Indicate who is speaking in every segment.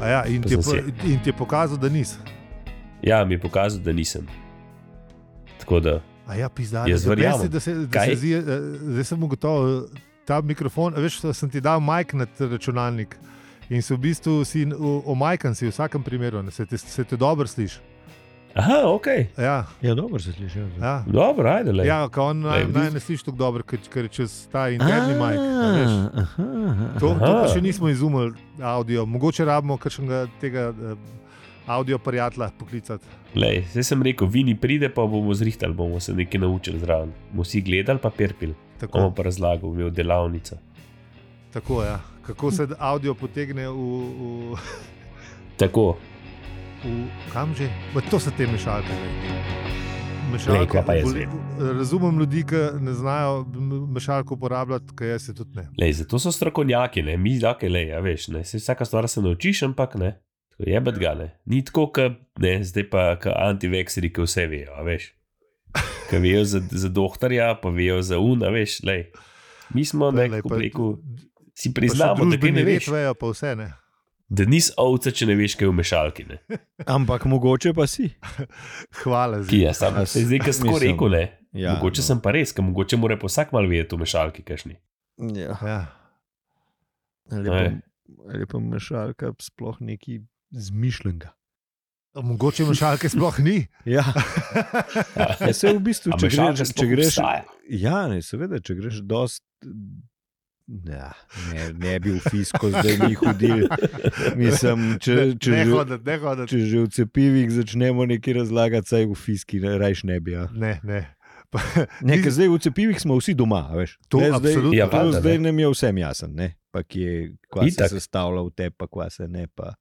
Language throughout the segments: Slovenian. Speaker 1: A Ja, in, ti je,
Speaker 2: Sem
Speaker 1: po- in ti je pokazal, da nisi.
Speaker 2: Ja, mi je pokazal, da nisem. Tako da,
Speaker 1: A Ja, pizda,
Speaker 2: Jaz verjamem.
Speaker 1: da se, da se
Speaker 2: Kaj?
Speaker 1: zdi, eh, zdaj sem ugotovil, eh, ta mikrofon, a veš, sem ti dal majk na računalnik in se v bistvu si omajkan, si v vsakem primeru, ne, se te, se te dobro sliši.
Speaker 2: aha, ok,
Speaker 1: Ja,
Speaker 3: Ja, dobro se sliši. ja.
Speaker 1: ja.
Speaker 2: dobro, ajde. lej.
Speaker 1: Ja, ko on naj,
Speaker 2: Lej,
Speaker 1: naj ne sliši tako dobro, ker, ker je čez ta interni majk. a veš.
Speaker 3: Ah, aha, aha.
Speaker 1: To, to
Speaker 2: Aha.
Speaker 1: pa še nismo izumili, avdio. Mogoče rabimo kakšnega tega eh, avdio prijatelja poklicati.
Speaker 2: Lej, Zdaj sem rekel, vini pride, pa bomo zrihtali, bomo se nekaj naučili zraven. Bomo vsi gledali, pa perpili,
Speaker 1: Tako,
Speaker 2: bomo pa razlagali, imel delavnico.
Speaker 1: tako, ja. Kako se avdio potegne v, v,
Speaker 2: Tako,
Speaker 1: v kam že? Ma, to so te mešalke. glej.
Speaker 2: Glej, kaj pa jaz
Speaker 1: bol-
Speaker 2: vem.
Speaker 1: razumem ljudi, ki ne znajo m- mešalko uporabljati, kaj jaz se tudi ne.
Speaker 2: lej, zato so strokovnjaki, ne? mi dake, lej, ja, veš, ne? Saj vsaka stvar se naučiš, ampak ne. Tako Je bed ga ne. Ni tako, kot ne, zdaj pa ka antivekseri, ki vse vejo, a veš. Ki vejo za, za doktorja, pa vejo za un, a veš, lej. Mi smo,
Speaker 1: Lej,
Speaker 2: ne, kako
Speaker 1: pa-
Speaker 2: bi rekel, si
Speaker 1: pa še
Speaker 2: priznamo, da kaj
Speaker 1: družbeni
Speaker 2: ne
Speaker 1: red
Speaker 2: veš.
Speaker 1: Vejo, pa vse ne.
Speaker 2: Da nisi ovca, če ne veš, kaj je v mešalki. Ne?
Speaker 3: Ampak mogoče pa si.
Speaker 1: Hvala za
Speaker 2: Ki je sam.
Speaker 3: A s-
Speaker 2: Zdaj, ki sem tako
Speaker 3: mislim,
Speaker 2: rekel, ne. Ja,
Speaker 3: Ja,
Speaker 2: mogoče no. sem pa res, ker mogoče mora pa vsak mal vedeti v mešalki, kašni.
Speaker 3: Ja.
Speaker 1: Ja.
Speaker 2: Ej.
Speaker 3: Lepo, lepo mešalka, sploh neki zmišljenega.
Speaker 1: Mogoče mešalke sploh ni.
Speaker 3: Ja, ja, se v bistvu,
Speaker 2: A
Speaker 3: če
Speaker 2: mešalka
Speaker 3: greš, če
Speaker 2: sploh
Speaker 3: greš,
Speaker 2: obstaja?
Speaker 3: ja, ne, seveda, če greš dost. Ja, ne, ne bi v fisko zdaj mi hodili. Mislim, če, če,
Speaker 1: ne
Speaker 3: že,
Speaker 1: hoditi, ne hoditi.
Speaker 3: če že v cepivih začnemo nekaj razlagati, saj v fiski ne, rajš ne bi. Ja.
Speaker 1: Ne, ne. Pa,
Speaker 3: Ne,
Speaker 1: Ti-
Speaker 3: ker zdaj v cepivih smo vsi doma, a veš.
Speaker 1: To
Speaker 3: Ne,
Speaker 1: absolutno.
Speaker 3: zdaj,
Speaker 2: Ja,
Speaker 3: to
Speaker 2: valjda, ne.
Speaker 3: zdaj nam je vsem jasen, ne? pa ki je kva se
Speaker 2: Itak.
Speaker 3: sestavlja v te, pa kva se ne. Pa.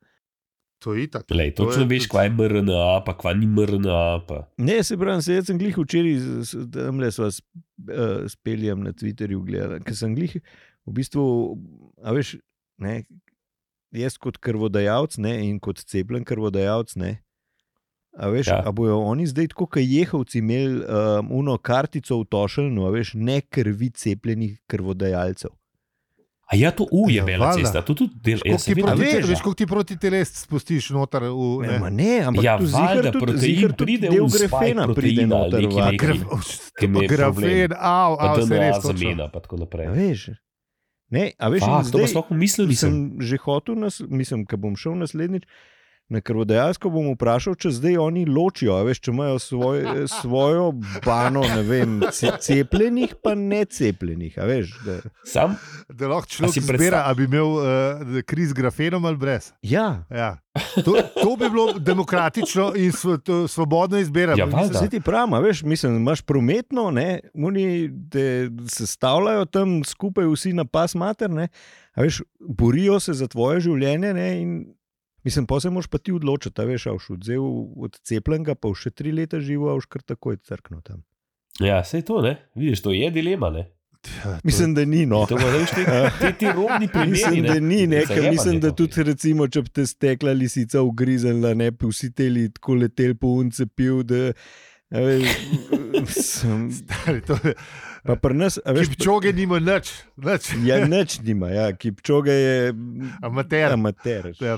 Speaker 1: to je itak.
Speaker 2: Lej,
Speaker 1: To
Speaker 2: točno
Speaker 1: je
Speaker 2: veš,
Speaker 1: tudi-
Speaker 2: kva je mRNA, pa kva ni mRNA. Pa.
Speaker 3: Ne, se pravi, se jaz sem glih včeraj, tam le so vas speljem eh, na Twitterju gledal, ker sem glih v bistvu, a veš, ne, jaz kot krvodajalec ne, in kot cepljen krvodajalec ne. A veš,
Speaker 2: Ja.
Speaker 3: ja. a bojo oni zdaj, tako kot jehovci, imeli um, uno kartico v tošeljnu, a veš, ne krvi cepljenih krvodajalcev.
Speaker 2: A ja, to U je
Speaker 1: Ja,
Speaker 2: bela
Speaker 1: valjda.
Speaker 2: cesta, to tudi dela.
Speaker 1: Koliko ti proti-
Speaker 3: veš,
Speaker 1: Veš,
Speaker 3: ja.
Speaker 1: koliko ti proti teles spustiš noter v
Speaker 3: Ne, ma
Speaker 1: ne.
Speaker 3: ne, ampak
Speaker 2: Ja,
Speaker 3: tu
Speaker 2: valjda,
Speaker 3: zihar tudi,
Speaker 2: protein
Speaker 3: zihar tudi
Speaker 2: pride
Speaker 3: del
Speaker 2: v spike
Speaker 3: grafena pride
Speaker 2: proteina ali
Speaker 3: noter
Speaker 2: neki
Speaker 3: v
Speaker 2: neki-
Speaker 3: akre.
Speaker 1: Graf,
Speaker 2: Ki-
Speaker 1: oh,
Speaker 2: ki mi je
Speaker 1: grafen,
Speaker 2: problem.
Speaker 1: av,
Speaker 2: Pa
Speaker 1: av, se
Speaker 2: DNA
Speaker 1: res točno.
Speaker 2: zamena, pa tako
Speaker 3: A
Speaker 2: naprej.
Speaker 3: Veš, ne, a Ja, veš, in
Speaker 2: Pa, to
Speaker 3: zdaj
Speaker 2: pa sploh mislil nisem.
Speaker 3: sem že hotel, nas, mislim, ko bom šel naslednjič. Na krvodajalsko bom vprašal, če zdaj oni ločijo, a veš, če imajo svoj, eh, svojo bano, ne vem, ce- cepljenih, pa ne cepljenih. a Veš, da,
Speaker 2: Sam,
Speaker 1: Da lahko
Speaker 2: A
Speaker 1: človek
Speaker 2: si predstav-
Speaker 1: zbira, ali bi imel uh, kriz z grafenom ali brez.
Speaker 3: ja,
Speaker 1: Ja. To, to bi bilo demokratično in svo, to, svobodno izbira.
Speaker 2: Ja,
Speaker 1: Mislim,
Speaker 2: valjda.
Speaker 3: Zdaj ti pravim, a veš, mislim, imaš prometno, ne, oni te sestavljajo tam skupaj, vsi na pas mater, ne, a veš, borijo se za tvoje življenje. Ne, in, mislim, pa se moraš pa ti odločiti, a veš, a boš odzel od cepljenega, pa boš še tri leta živel, a boš kar takoj crknil tam.
Speaker 2: ja, sej to, ne. Vidiš, to je dilema, ne.
Speaker 1: Ja, to-
Speaker 3: Mislim, da ni no.
Speaker 2: To pa, veš, te, te, ti robni primeri.
Speaker 3: Mislim, da ni nekaj.
Speaker 2: Zajebanje
Speaker 3: Mislim,
Speaker 2: to.
Speaker 3: da
Speaker 2: ja.
Speaker 3: tudi, recimo, če bi te stekla lisica ugrizenla, ne bi vsi teli tako leteli po unce pil. Da, a veš, sem,
Speaker 1: stari, to je-
Speaker 3: pa pri nas, a veš,
Speaker 1: Kipčoge nima nič, nič.
Speaker 3: Ja, nič nima, ja. kipčoga je m,
Speaker 1: Amater.
Speaker 3: amater. veš.
Speaker 1: Ja.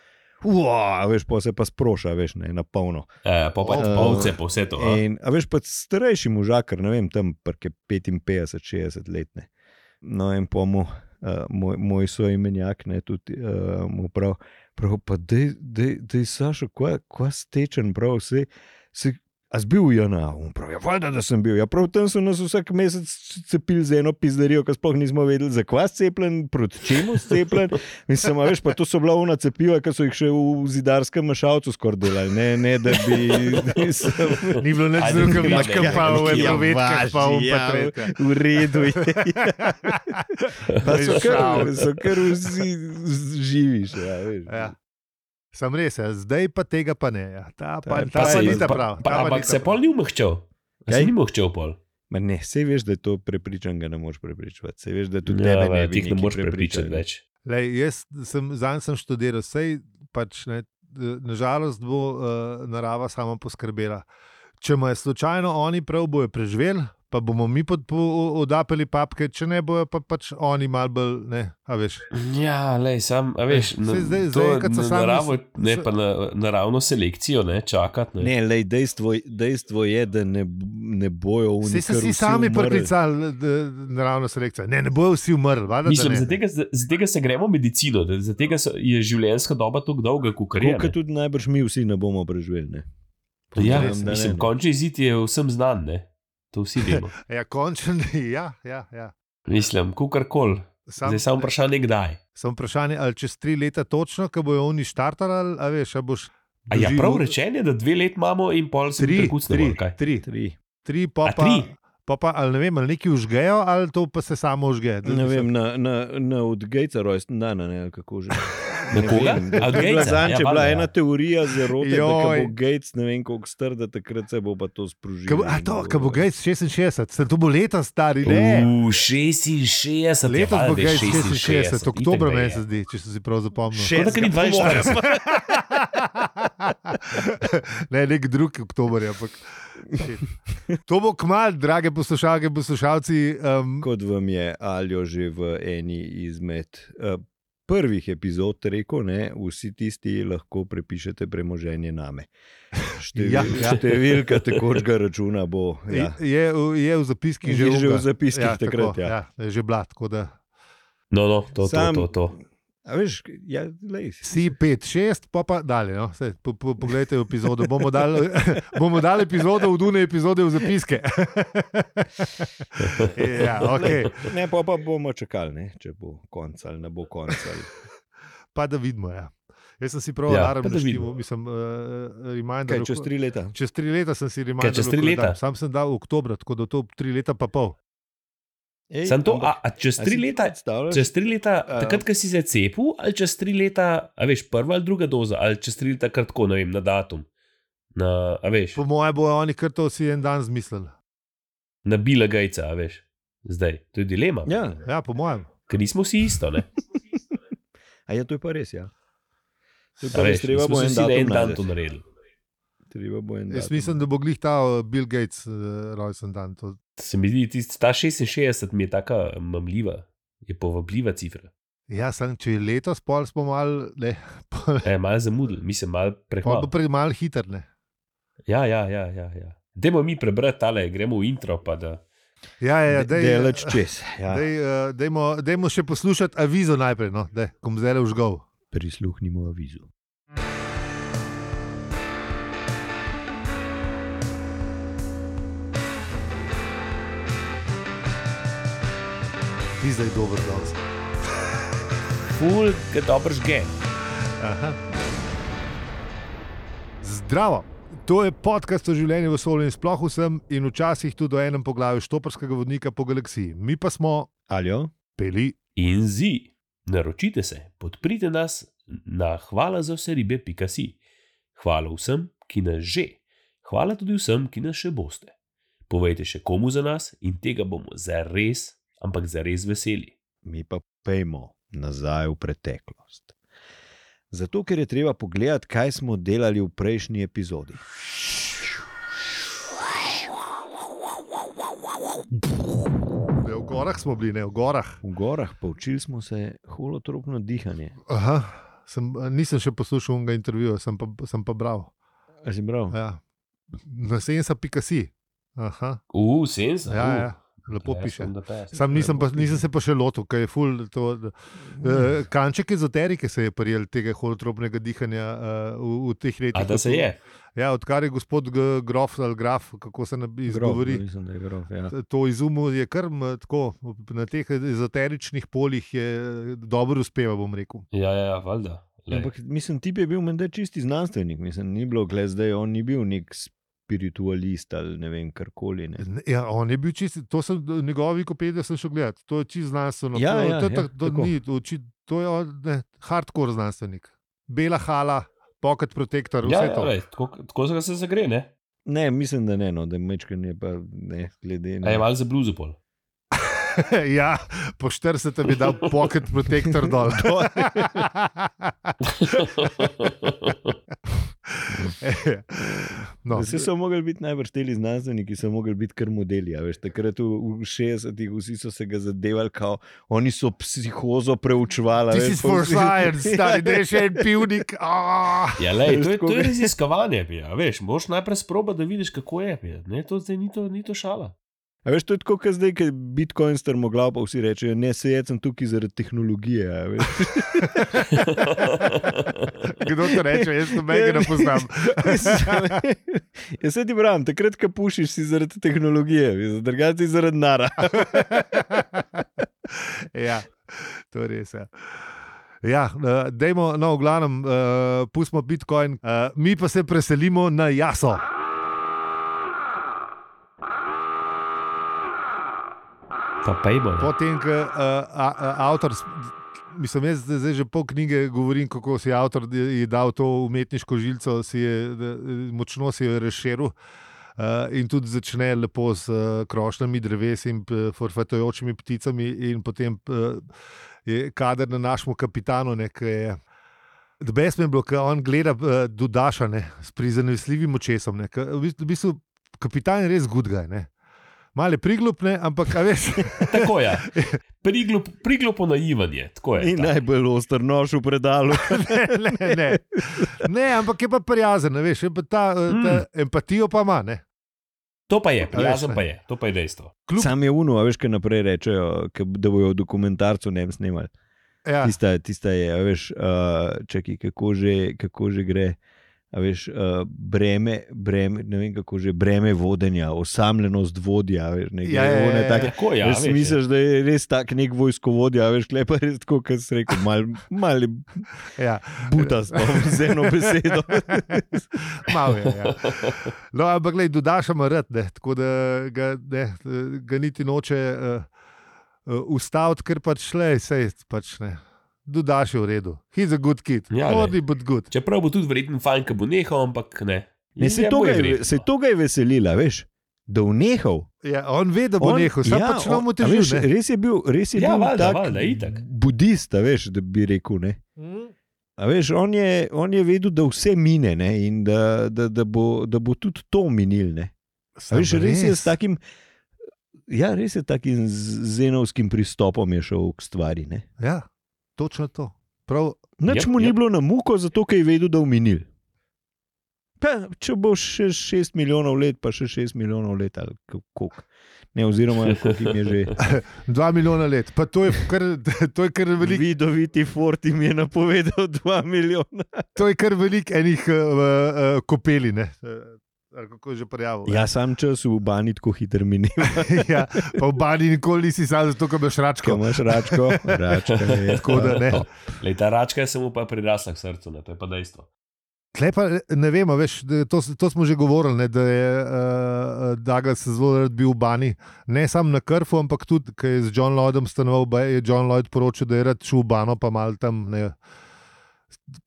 Speaker 3: Ua, a veš, pa se pa sproša, veš, ne, na polno.
Speaker 2: Ja, pa pač
Speaker 3: Eh,
Speaker 2: ovce, pa vse to. a?
Speaker 3: In, a veš, pa starejši možakar, ne vem, tam prke 55-60 let. Ne. No, in po mu, uh, moj, moj soimenjak, ne tudi uh, mu prav, prav pa da je Saša, kva, kva stečen, prav vse. Se, A zbil je na um, prav, ja, valjda, da sem bil. Ja, prav tam so nas vsak mesec cepili za eno pizdarijo, ki sploh nismo vedeli, zakaj si cepljen, proti čemu si cepljen. Mislim, a veš, pa to so bila ona cepiva, ki so jih še v zidarskem mešalcu skoraj delali, ne, ne da bi. Mislim,
Speaker 1: Ni bilo nič
Speaker 2: Ajde,
Speaker 1: z
Speaker 2: ne,
Speaker 1: rokavičkom,
Speaker 2: ne,
Speaker 1: pa v
Speaker 3: ne, ne,
Speaker 1: eprovetkah, pa v
Speaker 3: ja,
Speaker 1: patretah.
Speaker 3: V redu je. Pa so kar,
Speaker 1: Šal.
Speaker 3: so kar vsi živiš. Ja, veš.
Speaker 1: Ja. Sem res, ja. zdaj pa tega pa ne. Ja. Ta pa,
Speaker 3: Ta-
Speaker 1: ta
Speaker 3: pa
Speaker 1: pa
Speaker 3: se-
Speaker 1: ni ta
Speaker 2: pa-
Speaker 1: prav.
Speaker 2: pa- Ampak se pol ni umehčal. A Se
Speaker 3: Kaj?
Speaker 2: ni umehčal pol.
Speaker 3: Ma ne, vse veš, da je to prepričan, ga ne moreš prepričati. Vse veš, da tudi
Speaker 2: Ja,
Speaker 3: tebe
Speaker 2: ne,
Speaker 3: ne, bi
Speaker 2: ti ne
Speaker 3: nekaj
Speaker 2: moreš prepričati
Speaker 3: prepričal.
Speaker 2: več.
Speaker 1: Lej, jaz sem zanj sem študiral, sej pač ne. eh, Nažalost bo uh, narava sama poskrbela. Če me slučajno oni prav bojo preživeli, pa bomo mi pod- po- odapeli papke, če ne bojo pa pač oni mal bolj, ne, a veš.
Speaker 2: Ja, lej, sam, a veš,
Speaker 1: Saj
Speaker 2: na,
Speaker 1: zdaj-
Speaker 2: zdaj,
Speaker 1: zdaj,
Speaker 2: to,
Speaker 1: enkrat so
Speaker 2: na,
Speaker 1: sami
Speaker 2: naravo,
Speaker 1: s-
Speaker 2: ne,
Speaker 1: s-
Speaker 2: pa na naravno selekcijo, ne, čakati. Ne.
Speaker 3: Ne, lej, dejstvo, dejstvo je, da ne, b- ne bojo v
Speaker 1: Vsi so si sami priklicali da- naravno selekcijo. Ne, ne bojo vsi umrli. valjda, da
Speaker 2: Mislim,
Speaker 1: ne.
Speaker 2: za tega, za tega se gremo medicino, da za tega se- je življenjska doba tako dolga, kot je.
Speaker 3: Kot tudi najbrž mi vsi ne bomo preživeli. Ne?
Speaker 2: Ja,
Speaker 1: Res,
Speaker 3: da ne,
Speaker 2: mislim,
Speaker 3: ne.
Speaker 2: končni izid je vsem znan, ne? to vsi vemo.
Speaker 1: Ja, končen, ja, ja. ja.
Speaker 2: Mislim, kar koli.
Speaker 1: Sam,
Speaker 2: Zdaj samo vprašanje, kdaj.
Speaker 1: Samo vprašanje, ali čez tri leta točno, ko bojo oni štartali, ali a veš, a boš.
Speaker 2: A ja,
Speaker 1: doživel-
Speaker 2: prav rečeno je, da dve leti imamo in pol se
Speaker 1: tri,
Speaker 2: prekucamo.
Speaker 1: tri,
Speaker 2: Kaj?
Speaker 1: tri,
Speaker 3: Tri.
Speaker 1: tri, pa
Speaker 2: A,
Speaker 1: pa,
Speaker 2: tri?
Speaker 1: pa pa, ali ne vem, ali neki užgejo, ali to pa se samo užge.
Speaker 3: Ne vem, na, na, na od Gatesa rojsten dan, a ne ali kako že.
Speaker 2: Na
Speaker 3: Ne
Speaker 2: koga?
Speaker 3: vem, da-
Speaker 2: Od
Speaker 3: to je bila
Speaker 2: Gatesa?
Speaker 3: Zanj,
Speaker 2: Ja,
Speaker 3: če je bila
Speaker 2: valjda, ja.
Speaker 3: ena teorija zelo, da ko
Speaker 1: Joj.
Speaker 3: bo Gates ne vem koliko star, da takrat se bo pa to sprožilo.
Speaker 1: Ka, bo- a to, kar bo Gates 66, se to bo leta stari, ne.
Speaker 2: U, 66,
Speaker 1: Letos
Speaker 2: ja,
Speaker 1: bo
Speaker 2: valjda je
Speaker 1: Gates 66, oktober meni se zdi, če sem si prav zapomnil.
Speaker 2: Še tako ni 42.
Speaker 1: ne, nek drug oktober, je, ampak. Shit. To bo kmalu, drage poslušalke, poslušalci. Um,
Speaker 3: Kot vam je Aljo že v eni izmed eh, prvih epizod rekel, ne, vsi tisti lahko prepišete premoženje name. Števil,
Speaker 1: Ja,
Speaker 3: ja,
Speaker 1: ja.
Speaker 3: ja. Številka tekočega računa bo.
Speaker 1: ja.
Speaker 3: Ja.
Speaker 1: je, je v zapiskih že,
Speaker 3: Je že v
Speaker 1: onega.
Speaker 3: zapiskih takrat,
Speaker 1: tako,
Speaker 3: ja.
Speaker 1: ja. je Že blat, tako da.
Speaker 2: No, no, to,
Speaker 3: Sam-
Speaker 2: to, to, to.
Speaker 3: A veš, ja, lej,
Speaker 1: Si 5, 6, pa pa dalje. No. Saj, po, po, poglejte epizodo. Bomo dali, bomo dali epizodo v Dune, epizode v zapiske. ja, okay.
Speaker 3: Ne, pa, pa bomo čakali, ne? če bo konc ali ne bo konc. Ali...
Speaker 1: Pa da vidimo. Ja. Jaz sem si prav ja,
Speaker 2: Ja, pa
Speaker 1: alarm
Speaker 2: da
Speaker 1: naštimal,
Speaker 2: vidimo.
Speaker 1: mislim, uh, reminder.
Speaker 3: Kaj, čez tri leta?
Speaker 1: Čez tri leta sem si rekel,
Speaker 2: čez tri leta?
Speaker 1: Sam sem dal oktober, tako da to tri leta pa pol.
Speaker 3: Ej,
Speaker 2: Sam to,
Speaker 3: ampak-
Speaker 2: a, a čez
Speaker 3: a si
Speaker 2: tri
Speaker 3: to
Speaker 2: leta,
Speaker 3: predstavljaš?
Speaker 2: čez tri leta,
Speaker 3: A-
Speaker 2: takrat, ko si se cepil, ali čez tri leta, a veš, prva ali druga doza, ali čez tri leta, kar tako, ne vem, na datum. Na, a veš,
Speaker 1: Po mojem bojo oni kar to vsi en dan zmislili.
Speaker 2: na Bila Gajca, a veš, zdaj, to je dilema,
Speaker 3: Ja,
Speaker 1: Ja, po mojem.
Speaker 2: ker nismo vsi isto, ne.
Speaker 3: a ja, to je pa res. Ja. To je
Speaker 2: A
Speaker 3: pa res,
Speaker 2: veš,
Speaker 3: Ja, treba
Speaker 2: nismo
Speaker 3: bo
Speaker 2: se
Speaker 3: en
Speaker 2: vsi le en
Speaker 3: datum
Speaker 2: dan
Speaker 3: najti.
Speaker 2: to naredili.
Speaker 3: Treba bo en
Speaker 1: Jaz
Speaker 3: datum.
Speaker 1: mislim, da bo glih ta uh, Bill Gates uh, rojsten dan. To,
Speaker 2: Se mi zdi, tist, ta 66 mi je tako mamljiva, je povabljiva cifra.
Speaker 1: ja, sem, če je letos, pol smo mal, ne, pol,
Speaker 2: E, mal zamudil, mislim, mal
Speaker 1: pol
Speaker 2: prehval.
Speaker 1: bo pred mal hiter. Ne.
Speaker 2: Ja, ja, ja. ja, ja. Dajmo mi prebrati tale, gremo v intro. pa Da...
Speaker 1: Ja, ja, ja, dej,
Speaker 3: Delač čez. Ja.
Speaker 1: Dej, uh, dejmo, dejmo še poslušati avizo najprej, no, dej, kom zdaj le užgal.
Speaker 3: Prisluhnimo avizu.
Speaker 1: Ti zdaj dober dan.
Speaker 2: Ful, ki dobro žge.
Speaker 1: Zdravo! To je podcast o življenju v Solu in sploh vsem, in včasih tudi o enem poglavju štoprskega vodnika po galaksiji. Mi pa smo
Speaker 3: Aljo?
Speaker 1: peli.
Speaker 2: In zi, naročite se, podprite nas na hvala za vse ribe, pika si. Hvala vsem, ki nas že, hvala tudi vsem, ki nas še boste. Povejte še komu za nas in tega bomo zares, ampak zares veseli.
Speaker 3: mi pa pejmo nazaj v preteklost. Zato, ker je treba pogledati, kaj smo delali v prejšnji epizodi.
Speaker 1: Ne, v gorah smo bili, ne v gorah.
Speaker 3: V gorah poučili smo se holotropno dihanje.
Speaker 1: Aha, sem, eh, nisem še poslušal unega intervjuja, sem pa, sem pa bral.
Speaker 3: A si bral?
Speaker 1: Ja. Na senca pika si. Aha,
Speaker 2: U, senza.
Speaker 1: ja, ja, lepo piše. Sam nisem, pa, nisem se pa še lotil, kaj je ful. To, eh, kanček ezoterike se je prijel tega holotropnega dihanja eh, v, v teh letih.
Speaker 2: A da se je.
Speaker 1: Ja, odkar je gospod G- Grof ali Graf, kako se nam izgovori,
Speaker 3: Grob, mislim, da je grob. Ja.
Speaker 1: t- to izumil je kar m, tako, na teh ezoteričnih poljih je eh, dobro uspeva, bom rekel.
Speaker 2: Ja, ja, ja valjda. Glej.
Speaker 3: Ampak mislim, ti je bil menda čisti znanstvenik, mislim, ni bilo gled, zdaj on ni bil nek spiritualist ali ne vem karkoli. Ne.
Speaker 1: Ne, Ja, on je bil čist, to sem do- njegove Wikipedije sem šel gledat, to je čist znanstveno.
Speaker 3: Ja,
Speaker 1: to, to,
Speaker 3: ja,
Speaker 1: je
Speaker 3: ja,
Speaker 1: tak- to,
Speaker 3: tako.
Speaker 1: ni, to, či, to je on, ne, hardcore znanstvenik. Bela hala, pocket protector, vse
Speaker 2: Ja,
Speaker 1: to.
Speaker 2: ja, lej, tako, tako se ga se zagre, ne?
Speaker 3: Ne, mislim, da ne, no, da mečken je pa ne, glede
Speaker 2: A je
Speaker 3: na
Speaker 2: malo za bluzu pol.
Speaker 1: ja, po 40 bi dal pocket protector dol.
Speaker 3: to.
Speaker 1: no.
Speaker 3: Vsi so mogli biti najbrž teli znanstveniki, so mogli biti kar modeli. a Veš, takrat v 60-ih vsi so se ga zadevali, kao, oni so psihozo preučevali. a
Speaker 1: This
Speaker 3: veš,
Speaker 1: is
Speaker 3: pa
Speaker 1: for
Speaker 3: vsi-
Speaker 1: science, stari, da je še en pivnik. Ah.
Speaker 2: Ja, lej,
Speaker 3: Veš,
Speaker 2: to, je,
Speaker 3: tako
Speaker 2: to je
Speaker 3: ga-
Speaker 2: raziskovanje, bi, a veš. Moš najprej sproba, da vidiš, kako je. Bi, ne, to zdaj ni to, ni to šala.
Speaker 3: A veš, to je tako, kot zdaj, ki Bitcoin strmoglav, pa vsi rečejo, ne sejec sem tukaj zaradi tehnologije. a veš.
Speaker 1: Kdo to reče, jaz tega ne poznam.
Speaker 3: Jaz se Ja, ti pravim, takrat, ko pušiš, si zaradi tehnologije, drugače si zaradi nara.
Speaker 1: ja, to je res. Ja. Ja, eh, dajmo, no, v glavnem, uh, pustimo Bitcoin, uh, mi pa se preselimo na jaso.
Speaker 2: Pa pejmo. ne.
Speaker 1: Potem, ko uh, avtor, s- mislim, jaz zdaj zdaj že pol knjige govorim, kako si avtor je je dal to umetniško žilico, si je, eh, močno si jo je razširil. Uh, in tudi začne lepo s uh, krošnjami dreves in uh, forfatajočimi pticami, in potem uh, je kader na našemu kapitanu, ne, ki je. Debes mi je bilo, ker on gleda uh, Dudaša ne, s prizanesljivim očesom. Ne, ke v bistvu- v bistvu kapitan je res gudgaj. Male priglupne, ampak a veš.
Speaker 2: Tako je. Priglup, priglupo naivanje. Tako je.
Speaker 3: In
Speaker 2: tako.
Speaker 3: najbolj oster nož v predalu.
Speaker 1: ne, ne, ne. ne, ampak je pa prijazen, ne, veš, je pa ta, mm. ta
Speaker 3: Hmm.
Speaker 1: empatijo pa ima. Ne.
Speaker 2: To pa je,
Speaker 1: veš,
Speaker 2: prijazen
Speaker 1: ne.
Speaker 2: pa je, to pa je dejstvo.
Speaker 1: Kljub-
Speaker 3: Sam je uno, a veš, kaj naprej rečejo, ke- da bojo v dokumentarcu ne bi snimali.
Speaker 1: Ja,
Speaker 3: Tista, tista je, a veš, uh, čakaj, kako že, kako že gre. a Veš, uh, breme, breme, ne vem kako že, breme vodenja, osamljenost vodja. a Veš, ne,
Speaker 1: Ja, ja, ja, ja.
Speaker 3: tak,
Speaker 2: Tako je.
Speaker 3: Ja,
Speaker 2: a
Speaker 3: veš,
Speaker 2: veš,
Speaker 3: veš, misliš, da je res tak nek vojskovodja, a veš, klej pa res tako, kot si rekel, mal, mal
Speaker 1: ja,
Speaker 3: buta s eno besedo.
Speaker 1: malo je. Ja. No, ampak gledaj, dodaš ima rad, ne, tako da ga, ne, ga niti noče uh, ustaviti, ker pač šle, sej pač ne. Dodaš je v redu, he's a good kid,
Speaker 2: Ja, glej.
Speaker 1: only but good.
Speaker 2: Čeprav bo tudi verjetno fajn, ki bo nehal, ampak ne.
Speaker 3: Ne, se
Speaker 2: Je mu je verjetno. no.
Speaker 3: je to je veselila, veš, da vnehal.
Speaker 1: Ja, on ve, da bo nehal, sam ja, pač ne mu teži.
Speaker 3: Veš, res je bil, res je
Speaker 2: Ja,
Speaker 3: bil
Speaker 2: valjda,
Speaker 3: tak
Speaker 2: valjda, itak.
Speaker 3: budist, a veš, da bi rekel. Ne?
Speaker 1: Hmm.
Speaker 3: A veš, on je, on je vedel, da vse mine ne? in da, da, da, bo, da bo tudi to minil. Ne? A Veš, res je s takim. Ja, res je takim z- zenovskim pristopom je šel k stvari. Ne?
Speaker 1: Ja, točno to. Prav,
Speaker 3: Nič
Speaker 2: Jep,
Speaker 3: mu ni
Speaker 2: jep.
Speaker 3: bilo na muko, zato ker je vedel, da uminil. Pa, če bo še 6 milijonov let, pa še 6 milijonov let ali kako. Ne, oziroma, kako jim je že.
Speaker 1: dva milijona let, pa to je kar, to je kar veliko.
Speaker 3: Vidoviti Fort jim je napovedal 2 milijona.
Speaker 1: To je kar veliko enih uh, uh, kopeli, ne. Eh, ali kako je že prijavil.
Speaker 3: Ja, sam čas v bani tako hitro mini.
Speaker 1: ja, pa v bani nikoli nisi sam, zato ker imaš
Speaker 3: Ko
Speaker 1: račko.
Speaker 3: imaš račko, račka je.
Speaker 1: Tako da ne.
Speaker 3: Ja.
Speaker 2: Lej, ta račka je samo pa prirasla k srcu, ne? to je pa dejstvo.
Speaker 1: Tle pa ne vemo, veš, da to, s- to smo že govorili, ne, da je uh, Douglas zelo rad bil v bani. Ne samo na krfu, ampak tudi, ker je z John Lloydom stanoval, ba- je John Lloyd poročil, da je rad šel v bano, pa mal tam ne.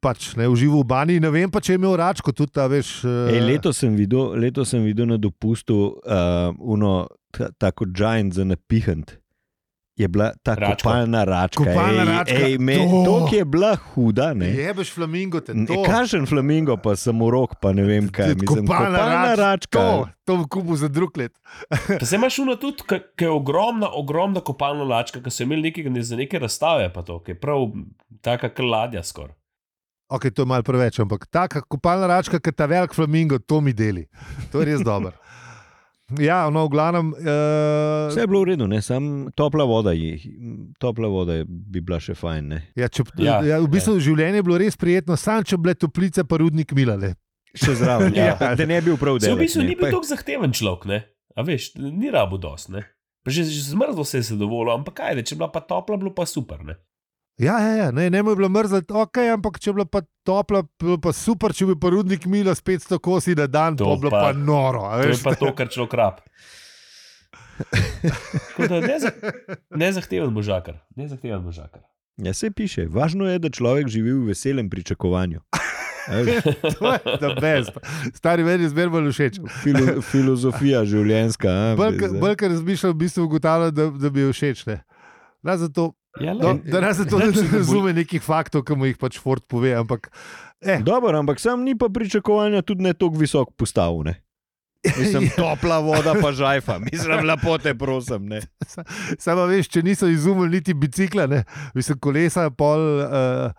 Speaker 1: Pač ne užival v bani, ne vem pa, če je imel račko tudi ta veš. eh,
Speaker 3: Ej, leto, sem videl, leto sem videl na dopustu uh, uno, ta, tako giant za napihant. Je bila ta
Speaker 2: Račko.
Speaker 3: kopalna račka.
Speaker 1: Kopalna
Speaker 3: ej,
Speaker 1: račka,
Speaker 3: Ej, me,
Speaker 1: to.
Speaker 3: to, ki je bila huda. Ne?
Speaker 1: Jebeš flamingo, te
Speaker 3: Ne,
Speaker 1: to.
Speaker 3: Kažen flamingo, pa samo rok, pa ne vem kaj. Mislim,
Speaker 1: Kopalna
Speaker 3: kopalna
Speaker 1: rač-
Speaker 3: račka.
Speaker 1: To, to v kubu za drug let.
Speaker 2: Pa se imaš uno tudi, ki je ogromna, ogromna kopalna lačka, ki so imeli nekaj, ne, za neke razstave, pa to, ki je prav taka kot ladja skoraj.
Speaker 1: Ok, to je malo preveč, ampak ta kopalna račka, ki ta velik flamingo, to mi deli. To je res dobro. Ja, no, v glavnem.
Speaker 3: Vse
Speaker 1: Uh,
Speaker 3: je bilo v redu, ne? sam topla voda, jih, topla voda je- bi bila še fajn. Ne?
Speaker 1: ja, če, ja,
Speaker 2: Ja,
Speaker 1: ja, v bistvu ja. življenje je bilo res prijetno, sam če bile toplice, pa rudnik milale.
Speaker 3: Še zraven, ja.
Speaker 1: Ja.
Speaker 3: da ne bi bil prav
Speaker 2: Se
Speaker 3: delal.
Speaker 2: v bistvu ni bil tako zahteven človek, ne? A veš, ni rabo dost, ne? Pa Že, že zmrzlo se je zadovoljilo, ampak kaj, če je bila pa topla, bilo pa super, ne?
Speaker 1: Ja, ja, ja ne, ne mu je bilo mrzlo, ok, ampak če je bila pa topla, bilo pa super, če bi pa rudnik mila s 500 kosi na dan, to
Speaker 2: To
Speaker 1: bilo pa,
Speaker 2: pa-
Speaker 1: pa noro. a
Speaker 2: To je
Speaker 1: veš.
Speaker 2: pa to, kar človek rab. Tako da ne, za, ne zahteven možakar, ne zahteven možakar.
Speaker 3: Ja, se piše, važno je, da človek živi v veselem pričakovanju. A veš,
Speaker 1: To je the best. Stari meni je zmerno bolj všeč.
Speaker 3: Filo, filozofija življenjska. a, zdaj.
Speaker 1: Bolj, kar razmišljam, v bistvu ugotavljam, da, da bi jo všeč. Ne? Da, zato,
Speaker 2: Ja, le,
Speaker 1: do, da nas zato ne
Speaker 2: Najlepše, da bo-
Speaker 1: razume nekih faktov, ki mu jih pač Ford pove, ampak eh,
Speaker 3: Dobro, ampak sam ni pa pričakovanja tudi ne tako visok postavljen. Mislim, topla voda, pa žajfa, mislim, lepote, prosim. Ne.
Speaker 1: Samo veš, če niso izumili niti bicikla, ne, mislim, kolesa, pol. Uh,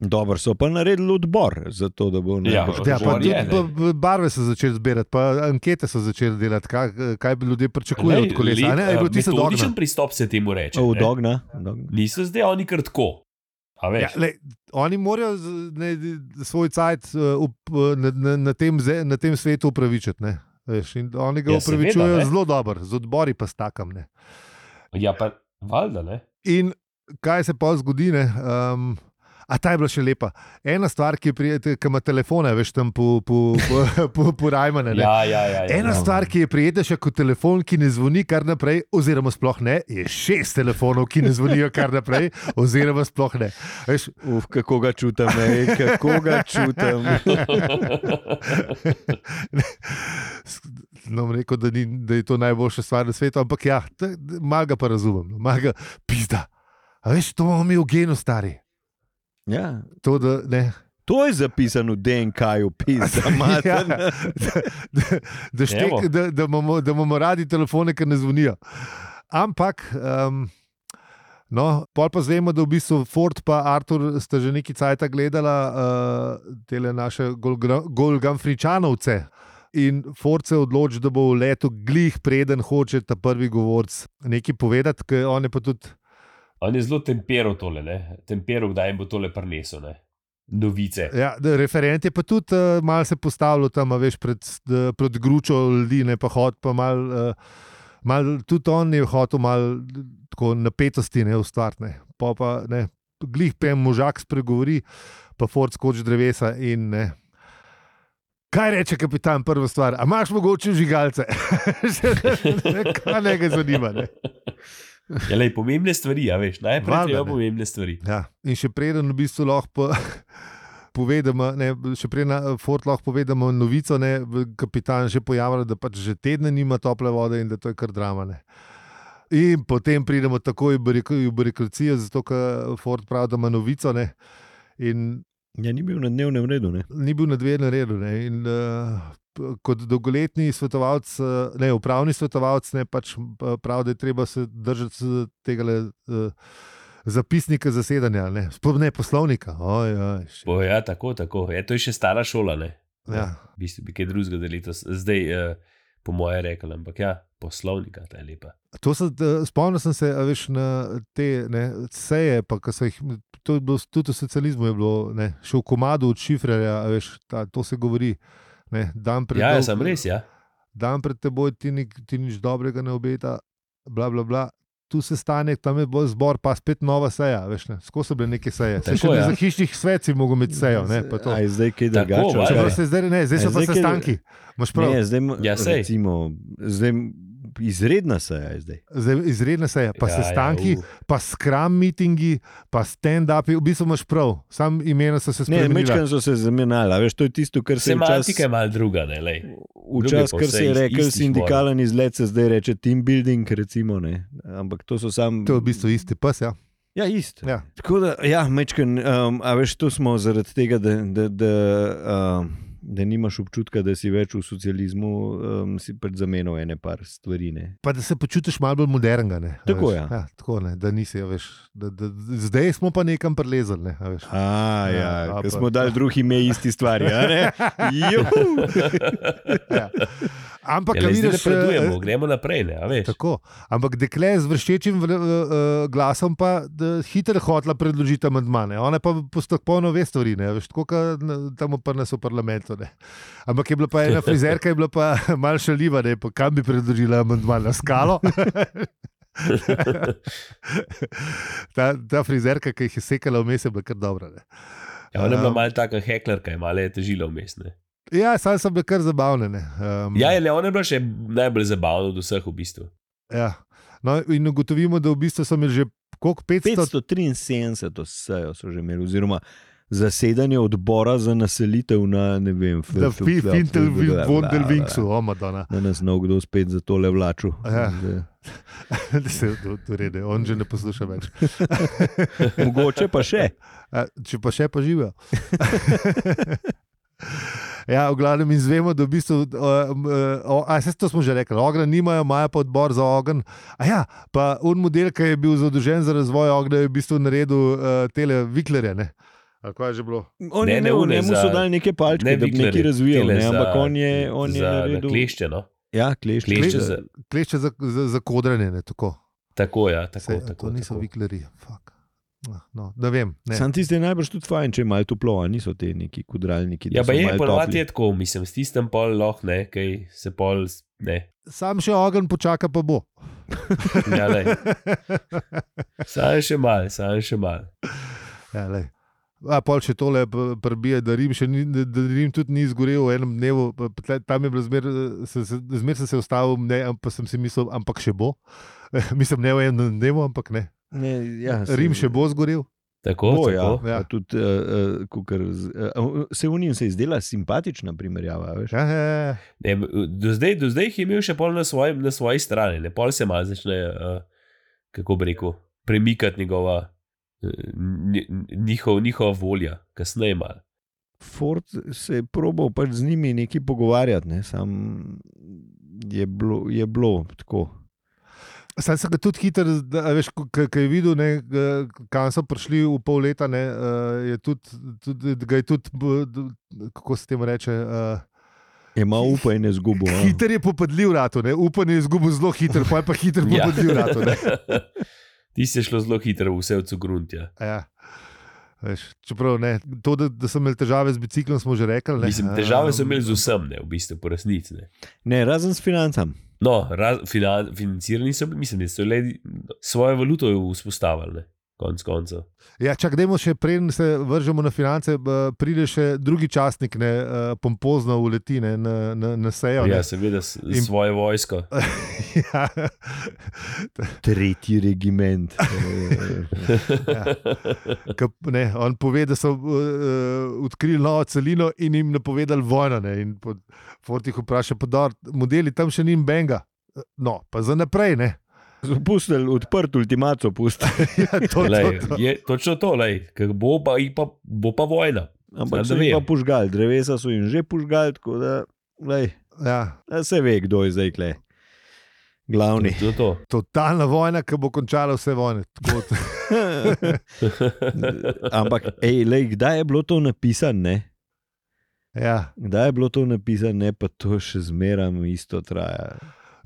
Speaker 3: Dobro, so pa naredili odbor, zato da bo
Speaker 1: ja,
Speaker 2: Ja,
Speaker 3: najbolj-
Speaker 2: Odgovor
Speaker 1: pa tudi
Speaker 2: je, ne.
Speaker 1: pa, pa barve so začeli zbirati, pa ankete so začeli delati, kaj, kaj bi ljudje pričakovali No, od kolesa. a Ne, a je bilo tisto dobro.
Speaker 2: Odličen pristop se temu reče.
Speaker 3: O,
Speaker 2: ne.
Speaker 3: dogna. dogna.
Speaker 2: Niso zdaj oni kar tako. A veš,
Speaker 1: Ja, lej, oni morajo z- ne, svoj cajt eh, up- na, na, na, tem, ze- na tem svetu upravičiti. Ne, veš, in oni ga
Speaker 2: Ja,
Speaker 1: ja,
Speaker 2: seveda,
Speaker 1: upravičujejo
Speaker 2: ne.
Speaker 1: seveda, zelo dobro, z odbori pa stakam. Ne.
Speaker 2: ja pa valjda ne.
Speaker 1: In kaj se pa zgodi? Ne? Um, a ta je bila še lepa. Ena stvar, ki, prijete, ki ima telefone, veš tam po, po, po, po, po Rajmane. ne.
Speaker 2: Ja, ja, ja, ja,
Speaker 1: Ena
Speaker 2: ja.
Speaker 1: stvar, ki je prijetnejša kot telefon, ki ne zvoni kar naprej, oziroma sploh ne, je šest telefonov, ki ne zvonijo kar naprej, oziroma sploh ne. Veš,
Speaker 3: Uf, kako ga čutim, ej, kako ga čutim.
Speaker 1: no, bom rekel, da, ni, da je to najboljša stvar na svetu, ampak ja, t- t- malo ga pa razumem, no, malo ga pizda. A veš, to imamo mi v genu, stari.
Speaker 3: Ja.
Speaker 1: To, da, ne,
Speaker 3: To je zapisano v DNK-ju, pisa, mater.
Speaker 1: Ja, da, da, štek,
Speaker 2: Evo.
Speaker 1: da, da, imamo, da imamo radi telefone, ki ne zvonijo. Ampak, um, no, pol pa znemo, da v bistvu Ford in Artur sta že neki cajt gledala uh, te naše Golgamfričanovce. In Ford se odloči, da bo v letu glih, preden hoče ta prvi govorc nekaj povedati, ker on je pa tudi.
Speaker 2: On je zelo temperal tole, ne? temperal, kdaj jim bo tole prinesel. Ne? Novice.
Speaker 1: Ja, da, referent je pa tudi uh, malo se postavljal tam, a veš, pred, uh, pred gručo ljudi, ne pa hod, pa malo. Uh, Mal, tudi on je hotel malo eh, tako napetosti, ne ustvarjne. Pa pa ne, glih pem možak spregovori, pa Ford skoči z drevesa in ne. Kaj reče kapitan, prva stvar, a imaš mogoče žigalce? Kaj ne ga zanima. Ne?
Speaker 2: Ja, lej, pomembne stvari, ja, veš, najprej
Speaker 1: Valjda,
Speaker 2: treba
Speaker 1: ne.
Speaker 2: pomembne stvari.
Speaker 1: Ja. In še preden v bistvu lahko po, povedemo, ne, še preden eh, Ford lahko povedemo novico, ne, v- kapitan že pojavlja, da pač že tedne nima tople vode in da to je kar drama. Ne. In potem pridemo takoj v birok- v birokracijo, zato ker Ford pravi, da ima novico. Ne. In
Speaker 3: Ja, ni bil na dnevnem redu, ne?
Speaker 1: ni bil na dveh na redu. Ne. In, uh, kot dolgoletni svetovalec, eh, ne, upravni svetovalec, ne pač eh, pravi, da je treba se držati tega zapisnika zasedanja, ne, sploh ne poslovnika. Oj, oj, še-
Speaker 2: Bo, ja, tako, tako. Ja, to je še stara šola. Ne?
Speaker 1: ja.
Speaker 2: V bistvu bi kaj drugega delil, zdaj, eh, po moje, rekel, ampak ja, poslovnika ta je lepa.
Speaker 1: To se, eh, Spomnil sem se, a veš, na te ne, seje, pa, ki so jih. To je bilo s- tudi v socializmu, je bilo ne, še v komadu od šifrerja, a veš, ta, to se govori. Ne, dan pred
Speaker 2: Ja,
Speaker 1: dol-
Speaker 2: ja, sem res, ja.
Speaker 1: dan pred teboj ti, ni, ti nič dobrega ne obeta, bla, bla, bla. Tu se stane, tam je bolj zbor, pa spet nova seja. veš, ne. Skozi so bile neke seje. Se
Speaker 2: Tako,
Speaker 1: še ja.
Speaker 2: ja.
Speaker 1: za hišnih svet si mogel imeti sejo. Ne, pa to.
Speaker 3: A je zdaj kaj
Speaker 2: Tako,
Speaker 3: drugače?
Speaker 2: valjda.
Speaker 1: Čeprav
Speaker 3: ali kaj?
Speaker 1: se zdaj, ne, zdaj so
Speaker 3: Aj,
Speaker 1: pa
Speaker 3: zdaj, ker-
Speaker 1: sestanki. Imaš prav,
Speaker 3: Ne, zdaj, m-
Speaker 2: Ja, sej.
Speaker 3: recimo, zdaj m- izredna seja je zdaj.
Speaker 1: zdaj izredne seje, pa
Speaker 2: ja,
Speaker 1: ja, sestanki,
Speaker 2: Ja,
Speaker 1: ja, pa skram mitingi, pa stand-upi. V bistvu imaš prav, sam imena so se
Speaker 3: Ne,
Speaker 1: spremenila.
Speaker 3: mečkam so se zamenjali, a veš, to je tisto, kar
Speaker 2: uh,
Speaker 3: se je včasih.
Speaker 2: semantika je malo druga, ne, lej.
Speaker 3: Včasih,
Speaker 2: Druge pa
Speaker 3: kar
Speaker 2: vse
Speaker 3: se je
Speaker 2: iz
Speaker 3: rekel,
Speaker 2: istih
Speaker 3: sindikalen izlet se zdaj reče team building, recimo, ne. ampak to so samo.
Speaker 1: To je v bistvu isti pes. Ja.
Speaker 3: Ja, isto.
Speaker 1: Ja.
Speaker 3: Tako da, ja, mečken, um, a veš, tu smo zaradi tega, da, da, da, um, da nimaš občutka, da si več v socializmu, um, si pred zamenjal ene par stvari. Ne.
Speaker 1: Pa da se počutiš malo bolj modernega. Ne, a
Speaker 3: Tako,
Speaker 1: veš.
Speaker 3: ja.
Speaker 1: Ja, tako ne, da nisi, a veš. Da, da, zdaj smo pa nekam prelezali. Ne, a veš.
Speaker 3: A, ja,
Speaker 1: Ja, a
Speaker 3: ja,
Speaker 1: pa-
Speaker 3: ker smo dali drugi ime isti stvari. a ne? Juhu!
Speaker 1: Ja. Ampak,
Speaker 2: Ja,
Speaker 1: ja,
Speaker 2: lej, zdaj
Speaker 1: vidiš,
Speaker 2: napredujemo,
Speaker 1: eh,
Speaker 2: gremo naprej, ne, a veš.
Speaker 1: Tako. Ampak dekle z vrščečim vr- eh, eh, glasom pa da, hitro hotla predložiti amandmane. Ona pa postopkovno ve stvari, ne veš, tako kot tam pa nas v parlamentu. Ne. Ampak je bila pa ena frizerka, je bila pa mal šaliva, ne pa kam bi predložila amandman na skalo. ta, ta frizerka, ki jih je sekala vmes, je bila kar dobra. Ne.
Speaker 2: Ja, ona je bila
Speaker 1: Um,
Speaker 2: malo taka heklerka, je malo je težila vmes. ne.
Speaker 1: Ja, sam sem bil kar zabavne. ne. Um,
Speaker 2: Ja, je le ona je bila še najbolj zabavna od vseh v bistvu.
Speaker 1: ja. No, in ugotovimo, da v bistvu so imeli že koliko 500
Speaker 3: 573 sejo so že imeli, oziroma zasedanje odbora za naselitev na ne vem,
Speaker 1: Da,
Speaker 3: Fl-
Speaker 1: fi-
Speaker 3: Fl-
Speaker 1: Fintel,
Speaker 3: Fl- Fl-
Speaker 1: Vondel, Vinksu, o Madonna.
Speaker 3: Da nas nov kdo spet za tole vlačil.
Speaker 1: Ja. Da se urede, on že ne posluša več.
Speaker 3: Mogoče pa še.
Speaker 1: A, Če pa še pa živijo. Ja, v glavnem izvemo, da v bistvu, uh, uh, a se to smo že rekli, ognja nimajo, imajo pa odbor za ogenj. A ja, pa un model, ki je bil zadolžen za razvoj ognja, je v bistvu naredil uh, tele viklerje, ne? Ali kaj je že bilo?
Speaker 3: On
Speaker 2: Ne,
Speaker 3: je
Speaker 2: ne,
Speaker 3: ne,
Speaker 2: one
Speaker 3: ne, mu so
Speaker 2: za-
Speaker 3: dali neke palčke, ne, da bi
Speaker 2: Viklerje,
Speaker 3: nekaj razvijal,
Speaker 2: tele
Speaker 3: ne,
Speaker 2: za-
Speaker 3: ampak on je, on je
Speaker 2: za
Speaker 3: naredil.
Speaker 2: Kleščeno.
Speaker 3: Ja, klešče.
Speaker 2: Klešče
Speaker 1: Kle-
Speaker 2: za,
Speaker 1: Kleče za, za, za kodranje, ne tako.
Speaker 2: tako, ja, tako,
Speaker 1: Sej, a
Speaker 2: tako,
Speaker 1: to niso
Speaker 2: tako.
Speaker 1: viklerji. Fuck. Ah, No, da vem. Ne.
Speaker 3: Sam tiste je najbrž tudi fajn, če je malo toplo, a niso te neki kudralniki. da
Speaker 2: Ja,
Speaker 3: so
Speaker 2: pa je
Speaker 3: malo
Speaker 2: ponovadi
Speaker 3: topli.
Speaker 2: je tako, mislim, s tistem pol lahko ne, kaj se pol s- ne.
Speaker 1: Sam še ogenj počaka, pa bo.
Speaker 2: Ja, lej. Sam še mal, sam še mal.
Speaker 1: Ja, lej. A pol še tole p- prebije, da Rim, še ni, da Rim tudi ni izgorel v enem dnevu, pa- pa tle- tam je bilo zmer, eh, se- se- zmer sem se ustavil, ne, am- pa sem si mislil, ampak še bo. Mislim, ne v enem dnevu, ampak ne.
Speaker 3: Ne, ja, se-
Speaker 1: Rim še bo zgorel.
Speaker 2: Tako,
Speaker 3: Bo, ja,
Speaker 2: tako.
Speaker 1: ja.
Speaker 3: ja. Tudi, uh, kukar, z, uh, se unim se je zdela simpatična primerjava. Veš?
Speaker 1: Ja, ja, ja.
Speaker 2: Ne, do, zdaj, do zdaj jih je imel še pol na, svojem, na svoji strani, ne pol se malo začne, uh, kako bi rekel, premikati njegova, eh, nj- njihov, njihova volja, kasneje malo.
Speaker 3: Ford se je probal pač z njimi nekaj pogovarjati, ne? sam je bilo, je bilo tako.
Speaker 1: Sam sem ga tudi hiter, da, a veš, ko- ko ko je videl, ne, eh, kam so prišli v pol leta, ne, eh, je tudi, tudi, ga je tudi, b- d- kako se temu reče, eh,
Speaker 3: Je imel upanje izgubo.
Speaker 2: Ja.
Speaker 3: a?
Speaker 1: hiter je popadljiv rato, ne, upanje je izgubil zelo hiter, pa je pa hiter
Speaker 2: Ja.
Speaker 1: popadljiv rato. Ne.
Speaker 2: Ti si šlo zelo hitro, vse od gruntja.
Speaker 1: Ja. Veš, čeprav ne, to, da, da sem imel težave z biciklom, smo že rekli. ne.
Speaker 2: Mislim, težave so
Speaker 1: Ehm,
Speaker 2: imeli z vsem, ne, v bistvu, po resnici. ne.
Speaker 3: Ne, razen s financami.
Speaker 2: No, raz, finan, financirani so bili, mislim, da so le svojo valuto vzpostavili, ne, konc koncev.
Speaker 1: Ja, čak, dajmo še preden se vržemo na finance, b- pride še drugi časnik, ne, eh, pompozno uleti ne, na, na, na sejo. ne.
Speaker 2: Ja, seveda, s-
Speaker 1: In-
Speaker 2: svoje vojsko.
Speaker 1: ja.
Speaker 3: Tretji regiment. Eh,
Speaker 1: Ja. Ka, ne, on pove, da so uh, odkrili novo celino in jim napovedali vojno. Ne, in pod, Fort jih vpraša, da modeli tam še ni benga. No, pa za naprej. Ne.
Speaker 3: Pustili odprt ultimato, pustili.
Speaker 1: Ja, to,
Speaker 2: Lej,
Speaker 1: to, to.
Speaker 2: je, točno to, lej, ker bo, pa, ji pa, bo pa vojna.
Speaker 3: Ampak
Speaker 2: Zdaj,
Speaker 3: so
Speaker 2: da
Speaker 3: jih pa
Speaker 2: vem.
Speaker 3: požgali, drevesa so jim že požgali, tako da, lej,
Speaker 1: Ja.
Speaker 3: da se ve, kdo je zdaj kle. Glavni.
Speaker 2: Točno to.
Speaker 1: Totalna vojna, ki bo končala vse vojne. Tako,
Speaker 3: Ampak, ej, lej, kdaj je bilo to napisano? ne?
Speaker 1: ja.
Speaker 3: Kdaj je bilo to napisano, ne pa to še zmeraj isto traja.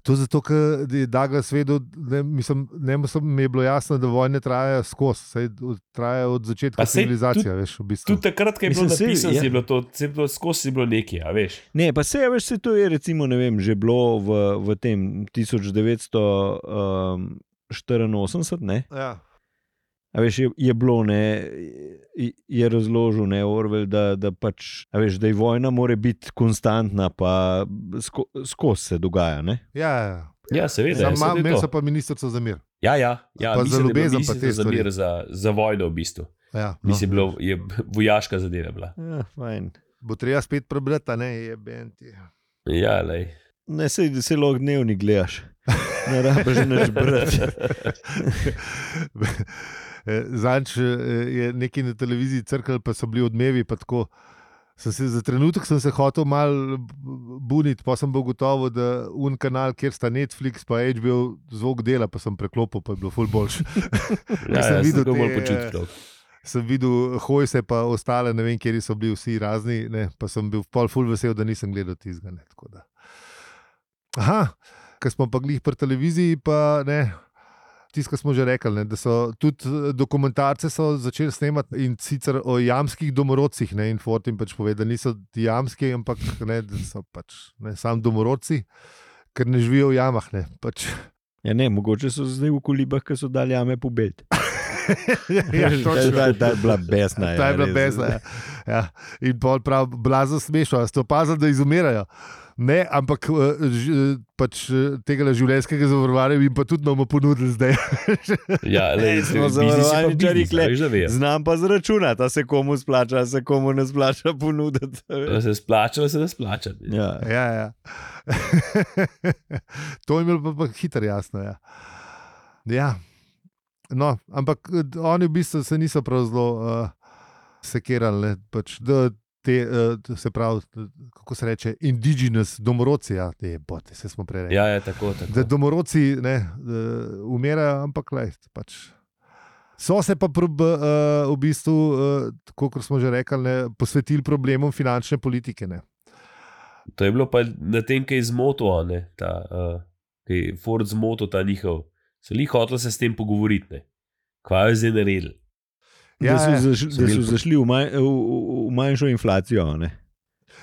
Speaker 1: To je zato, ker je Douglas vedel, ne, mislim, ne, sem, mi je bilo jasno, da vojne trajajo skozi, saj od- trajajo od začetka
Speaker 2: Pa saj
Speaker 1: civilizacije.
Speaker 2: tudi-
Speaker 1: Veš, v bistvu.
Speaker 2: Tudi takrat, ko je bilo
Speaker 3: Mislim, saj,
Speaker 2: napisano,
Speaker 3: ja.
Speaker 2: je bilo to, se je bilo skozi je bilo nekaj, a veš.
Speaker 3: Ne, pa se veš, se to je recimo, ne vem, že bilo v, v tem 1984, ne?
Speaker 1: ja.
Speaker 3: A veš, je, je bilo, ne, je- je razložil, ne, Orwell, da, da pač, a veš, da je vojna mora biti konstantna, pa sko, skozi se dogaja. Ne?
Speaker 1: Ja, ja.
Speaker 2: Ja, seveda.
Speaker 1: Sam
Speaker 2: ja,
Speaker 1: imam,
Speaker 2: saj to je
Speaker 1: imel
Speaker 2: to.
Speaker 1: sem pa ministrstvo za mir.
Speaker 2: Ja, ja, ja
Speaker 1: Pa za
Speaker 2: mislim, da je bilo
Speaker 1: ljubezen pa te
Speaker 2: ministrstvo za,
Speaker 1: stvari.
Speaker 2: mir, za, za vojno v bistvu.
Speaker 1: Ja, no.
Speaker 2: Mislim, bilo je vojaška zadeva bila.
Speaker 3: Ja, fajn.
Speaker 1: Bo treba spet prebrati, a ne je benti.
Speaker 2: Ja, lej.
Speaker 3: Ne, sej, da se lahko dnevni gledaš, ne rabiš več brati.
Speaker 1: Zanč Eh, je nekaj na televiziji crkal, pa so bili odmevi. pa Tako, sem se, za trenutek sem se hotel malo buniti, pa sem bil gotov, da un kanal, kjer sta Netflix, pa HBO zvok dela, pa sem preklopil, pa je bilo ful boljše.
Speaker 2: Ja,
Speaker 1: sem
Speaker 2: ja,
Speaker 1: videl
Speaker 2: sem tako
Speaker 1: te,
Speaker 2: bolj počutil.
Speaker 1: sem videl eh, hojse, pa ostale, ne vem, kje so bili vsi razni, ne, pa sem bil pol ful vesel, da nisem gledal tizgane. Aha, ker smo pa glih pri televiziji, pa ne. Tisto smo že rekli, ne, da so tudi eh, dokumentarce so začeli snemati in sicer o jamskih domorodcih. Ne, in Fort jim pač pove, da niso ti jamski, ampak ne, da so pač ne, sam domorodci, ker ne živijo v jamah. Ne, pač.
Speaker 3: Ja, ne, mogoče so zdaj v kolibah, ki so dali jame pobelt.
Speaker 1: ja, točno.
Speaker 3: ta, ta je bila besna.
Speaker 1: Ta je bila
Speaker 3: res.
Speaker 1: bezna. Ja. Ja. In pol prav, blazo smešno, ste opazili, da izumirajo. Ne, ampak eh, ž- pač tega življenjskega zavarovanja bi jim pa tudi bomo ponudili zdaj.
Speaker 2: Ja, le,
Speaker 3: Smo zavarovalničarji, kle.
Speaker 2: že vejo.
Speaker 3: Ja. Znam pa zračunati, a se komu splača, a se komu ne splača ponuditi.
Speaker 2: Se splača, ali se ne splača.
Speaker 3: Ja.
Speaker 1: ja, ja. to je bilo pa, pa hitro jasno. Ja. Ja. No, ampak eh, oni v bistvu se niso prav zelo uh, sekirali, ne, pač, da te, uh, se pravi, eh, kako se reče, indigenous domorodci, ja, te bote, se smo prej rekli.
Speaker 2: Ja, je tako. tako.
Speaker 1: da domorodci ne, da umirajo, ampak le. Pač. So se pa prob, uh, v bistvu, uh, tako kot smo že rekli, ne, posvetili problemom finančne politike. Ne.
Speaker 2: To je bilo pa na tem, kaj je zmotil, a ne, ta, uh, kaj je Ford zmotil ta njihov. Se li hotel se s tem pogovoriti, ne? Kaj je zdaj naredil?
Speaker 1: Ja,
Speaker 3: da, so
Speaker 1: ja.
Speaker 3: zaš, da so
Speaker 2: Zamiljko.
Speaker 3: zašli v, manj, v, v- v manjšo inflacijo. a Ne?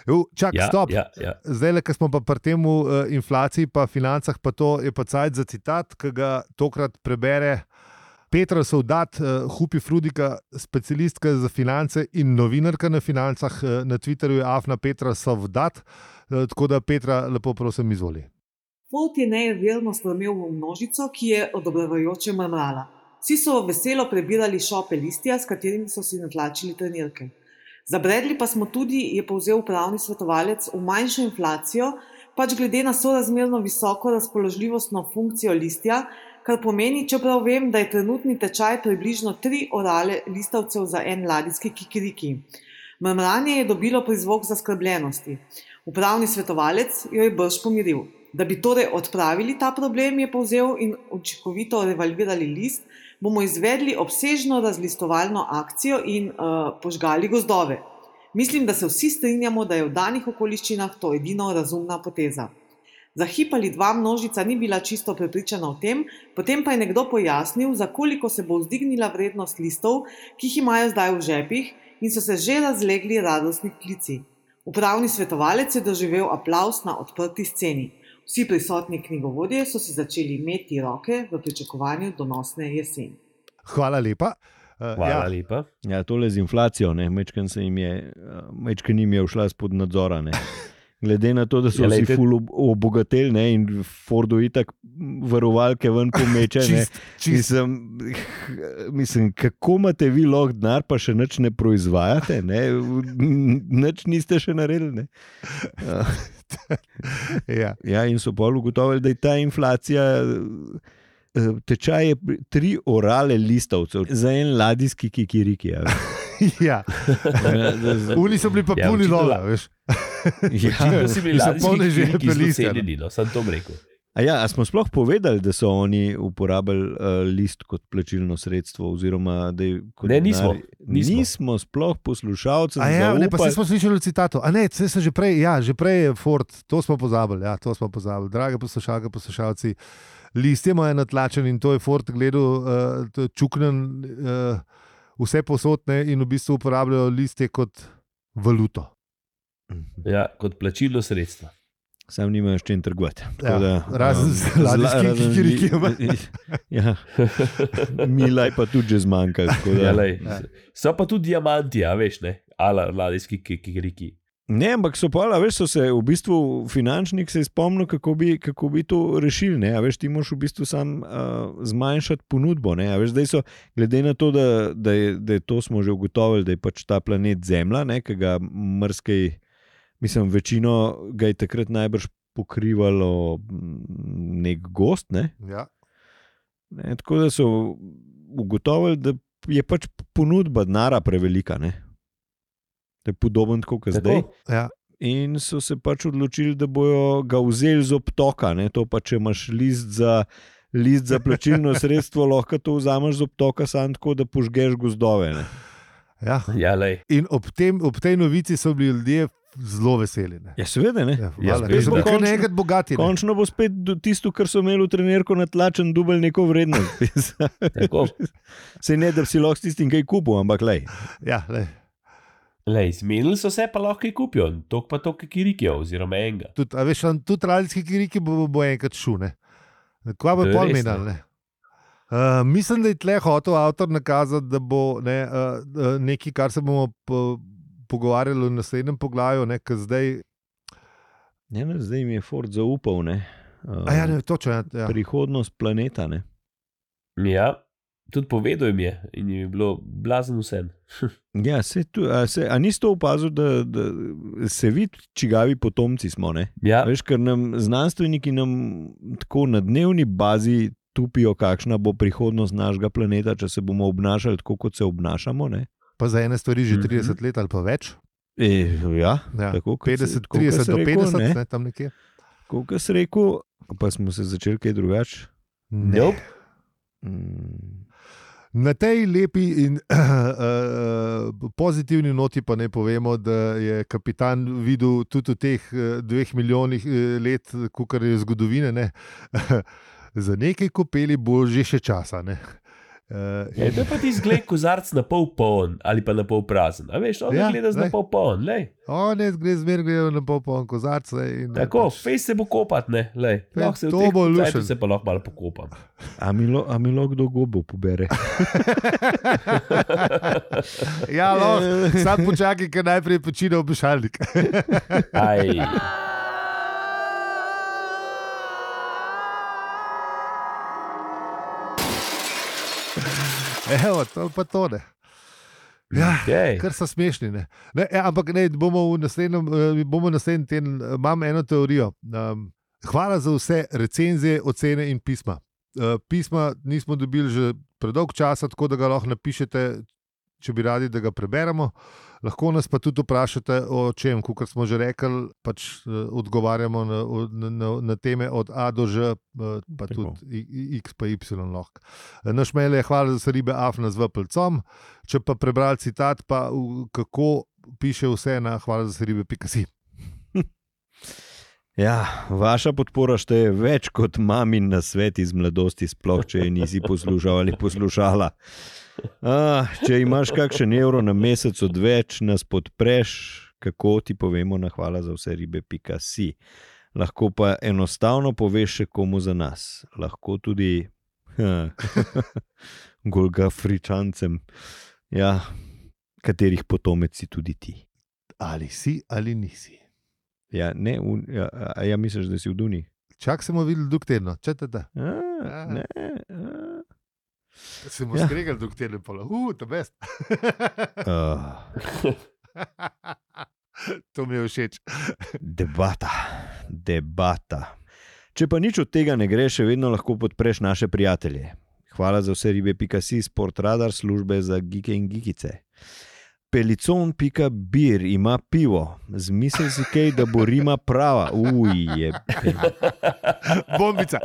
Speaker 1: Jo, Čak,
Speaker 2: Ja,
Speaker 1: stop.
Speaker 2: ja, ja.
Speaker 1: Zdaj, le, ker smo pa pri tem uh, inflaciji, pa financah, pa to je pa cajt za citat, ki ga tokrat prebere Petra Sovdat, uh, Hupi Frudika, specialistka za finance in novinarka na financah uh, na Twitterju, je Afna Petra Sovdat. Uh, tako da, Petra, lepo prosim, izvoli.
Speaker 4: Ford je nejeverno strmel v množico, ki je odobravajoče mrmrala. Vsi so veselo prebirali šope listja, s katerimi so si natlačili trenirke. Zabredli pa smo tudi, je povzel upravni svetovalec, v manjšo inflacijo, pač glede na sorazmerno visoko razpoložljivostno funkcijo listja, kar pomeni, čeprav vem, da je trenutni tečaj približno tri orale listavcev za en ladijski kikiriki. Mrmranje je dobilo prizvok zaskrbljenosti. Upravni svetovalec jo je brž pomiril. Da bi torej odpravili ta problem, je povzel in učinkovito revalvirali list, bomo izvedli obsežno razlistovalno akcijo in uh, požgali gozdove. Mislim, da se vsi strinjamo, da je v danih okoliščinah to edino razumna poteza. Za hip ali dva množica ni bila čisto prepričana o tem, potem pa je nekdo pojasnil, za koliko se bo vzdignila vrednost listov, ki jih imajo zdaj v žepih, in so se že razlegli radostni klici. Upravni svetovalec je doživel aplaus na odprti sceni. Vsi prisotni knjigovodje so si začeli imeti roke v pričakovanju donosne jeseni.
Speaker 1: Hvala lepa. Uh,
Speaker 2: Hvala ja.
Speaker 1: ja,
Speaker 2: lepa.
Speaker 3: Ja, tole z inflacijo, mečken jim je, mečken jim je ušla spod nadzora. Ne. Glede na to, da so
Speaker 2: Ja,
Speaker 3: vsi
Speaker 2: lejte-
Speaker 3: ful ob- obogateli ne, in Fordu itak varovalke ven pomeče. ne.
Speaker 1: čist, čist.
Speaker 3: Mislim, mislim, kako imate vi lahko denar, pa še nič ne proizvajate, ne? nič niste še naredili. Ne?
Speaker 1: Ja.
Speaker 3: Ja, in so pol ugotovili, da je ta inflacija, eh, tečaj je pri- tri orale listovcev za en ladijski kikiriki. Ja.
Speaker 1: ja. Uni so bili pa
Speaker 2: Ja,
Speaker 1: puni
Speaker 2: očitno
Speaker 1: lova,
Speaker 2: la-
Speaker 1: veš.
Speaker 2: Če si bili
Speaker 1: so
Speaker 2: ladijski
Speaker 1: polne
Speaker 2: kikiriki,
Speaker 1: žepe
Speaker 2: so
Speaker 1: listja, no.
Speaker 2: cenjeni, no, sem to bom rekel.
Speaker 3: A ja, a smo sploh povedali, da so oni uporabljali uh, list kot plačilno sredstvo? Oziroma, da je kot
Speaker 2: Ne, nismo,
Speaker 3: denar-
Speaker 2: nismo.
Speaker 3: nismo sploh poslušalci.
Speaker 1: A ja, ne, pa saj smo slišali v citatu. A ne, saj so že prej, ja, že prej je Ford, to smo pozabili, ja, to smo pozabili. Drage poslušalke, poslušalci, list je moj natlačen in to je Ford gledal, uh, čuknen uh, vse posodne in v bistvu uporabljajo listje kot valuto.
Speaker 2: Ja, kot plačilno sredstvo.
Speaker 3: Sam nimajo s čim trgovati. Tako
Speaker 1: Ja,
Speaker 3: da, no.
Speaker 1: razen z
Speaker 3: zla-
Speaker 1: ladijskim
Speaker 3: razen
Speaker 1: kikirikijem.
Speaker 3: li- Ja, milaj pa tudi že zmanjka. tako da-
Speaker 2: Ja, lej.
Speaker 1: Ja.
Speaker 2: so pa tudi diamanti, a veš, ne, ala ladijski kikiriki.
Speaker 3: Ne, ampak so pa, a veš, so se v bistvu finančnik se je spomnil, kako bi, kako bi to rešil. Ne, a veš, ti moraš v bistvu sam uh, zmanjšati ponudbo. Ne, a veš, zdaj so, glede na to, da, da, je, da je to smo že ugotovili, da je pač ta planet Zemlja, ne, ki ga mrskej, mislim, večino ga je takrat najbrž pokrivalo mm, nek gost. Ne,
Speaker 1: Ja.
Speaker 3: ne, tako da so ugotovili, da je pač ponudba denara prevelika. Ne. Da je podoben tako, kot zdaj.
Speaker 2: Tako.
Speaker 1: Ja.
Speaker 3: In so se pač odločili, da bojo ga vzeli z obtoka. Ne? To pa, če imaš list za, list za plačilno sredstvo, lahko to vzameš z obtoka, samo tako, da požgeš gozdove. Ne?
Speaker 1: Ja.
Speaker 2: Ja, lej.
Speaker 1: In ob, tem, ob tej novici so bili ljudje zelo veseli. Ne?
Speaker 3: Ja, seveda ne.
Speaker 1: Ja,
Speaker 2: Ja,
Speaker 1: hvala,
Speaker 2: spet
Speaker 1: ker so bili
Speaker 3: bo.
Speaker 1: kar naenkrat bogati. Ne?
Speaker 3: Končno bo spet do- tisto, kar so imeli v trenerku natlačen, dubel neko vrednost.
Speaker 2: Tako,
Speaker 3: Se ne, da bi si lahko s tistim kaj kupil, ampak le.
Speaker 1: Ja, lej.
Speaker 2: lej, zmenili so se, pa lahko jih kupijo, tok pa to kikirikijo, oziroma enega.
Speaker 1: tudi, a veš, on tudi radijski kiriki bo, bo enkrat šune. Kva bo
Speaker 2: To je
Speaker 1: pol
Speaker 2: res,
Speaker 1: menal, ne? Uh, mislim, da je tle hotel avtor nakazati, da bo ne, uh, nekaj, kar se bomo po, pogovarjali v naslednjem poglavju, ne, ker zdaj.
Speaker 3: Ja, ne, zdaj mi je Ford zaupal. Ne, um,
Speaker 1: A ja, ne, točno. Ja, ja.
Speaker 3: Prihodnost planeta. Ne.
Speaker 2: Ja, tudi povedal jim je in jim je bilo blazen vsem.
Speaker 3: Ja, se tu, a, se, a niste opazili, da, da se vidi, čigavi potomci smo. Ne?
Speaker 2: Ja,
Speaker 3: Veš, ker nam znanstveniki nam tako na dnevni bazi tupijo, kakšna bo prihodnost našega planeta, če se bomo obnašali tako, kot se obnašamo. Ne?
Speaker 1: Pa za ene stvari že
Speaker 2: Mhm.
Speaker 1: 30 let ali pa več.
Speaker 3: E, ja,
Speaker 1: Ja.
Speaker 3: tako kot
Speaker 1: 50,
Speaker 3: se- tako, kot
Speaker 1: 30
Speaker 3: se
Speaker 1: do
Speaker 3: rekel,
Speaker 1: 50,
Speaker 3: ne.
Speaker 1: ne, tam nekje.
Speaker 3: Kot sem rekel, pa smo se začeli kaj drugače.
Speaker 1: Ne.
Speaker 2: Nope.
Speaker 3: Mm,
Speaker 1: Na tej lepi in uh, pozitivni noti pa ne povemo, da je kapitan videl tudi v teh eh, dveh milijonih eh, let, kar je zgodovine, ne? za nekaj kopeli bo že še časa. Ne? Eh,
Speaker 2: Ja, to je pa ti zgled kozarc na pol poln ali pa na pol prazen. A veš, on
Speaker 1: Ja,
Speaker 2: ja, gleda
Speaker 1: glej.
Speaker 2: na pol poln, lej.
Speaker 1: On je zgolj zmer gledal na pol poln kozarc. ne, in, eh,
Speaker 2: Tako,
Speaker 1: pač-
Speaker 2: fej se bo kopat, ne, lej.
Speaker 1: Fej,
Speaker 2: Lahko se v
Speaker 1: to
Speaker 2: teh
Speaker 1: bo
Speaker 2: kozarcih
Speaker 1: lušen.
Speaker 2: Se pa lahko malo pokopam.
Speaker 3: A mi lo- a mi lahko kdo gobo pobere?
Speaker 1: ja, lahko. Sam počakaj, ker najprej počne obešalnik.
Speaker 2: Aj.
Speaker 1: Evo, to pa tone. Ja,
Speaker 2: Okay.
Speaker 1: Ker so smešni. Ne? Ne, e, ampak ne, bomo v naslednjem, eh, bomo naslednji teden, eh, imam eno teorijo. Um, hvala za vse recenzije, ocene in pisma. Uh, pisma nismo dobili že predolg časa, tako da ga lahko napišete, če bi radi, da ga preberemo. Lahko nas pa tudi vprašate o čem, kot smo že rekli, pač eh, odgovarjamo na, o- na, na, na teme od A do Ž, eh, pa
Speaker 3: Tako.
Speaker 1: tudi i- i- X, pa Y lahko. Eh, Naš mail je hvala za vse ribe, afna z vplcom. Če pa prebrali citat, pa v- kako piše vse na hvala za vse ribe, pika si.
Speaker 3: Ja, vaša podpora šteje več kot mamin na svet iz mladosti, sploh če je nisi poslušal ali poslušala. Ah, če imaš kakšen evro na mesec odveč, nas podpreš, kako ti povemo na hvala za vse ribe, pika si. Lahko pa enostavno poveš še komu za nas, lahko tudi ha, golgafričancem, ja, katerih potomec si tudi ti.
Speaker 1: Ali si ali nisi.
Speaker 3: Ja, ne, un, ja, a- a ja, misliš, da si v Duni?
Speaker 1: Čak se bomo videli drug teden, če te da.
Speaker 3: A,
Speaker 1: Ja.
Speaker 3: ne, a.
Speaker 1: Se bomo
Speaker 3: Ja.
Speaker 1: skregali drug teden, pa uh, to best.
Speaker 3: Ah,
Speaker 1: to mi je všeč.
Speaker 3: debata, debata. Če pa nič od tega ne gre, še vedno lahko podpreš naše prijatelje. Hvala za vse ribe, pika si, sport radar, službe za gike in gikice. Pelicon, pika bir, ima pivo, zmisel si kaj, da bo Rima prava, uje.
Speaker 1: Bombica.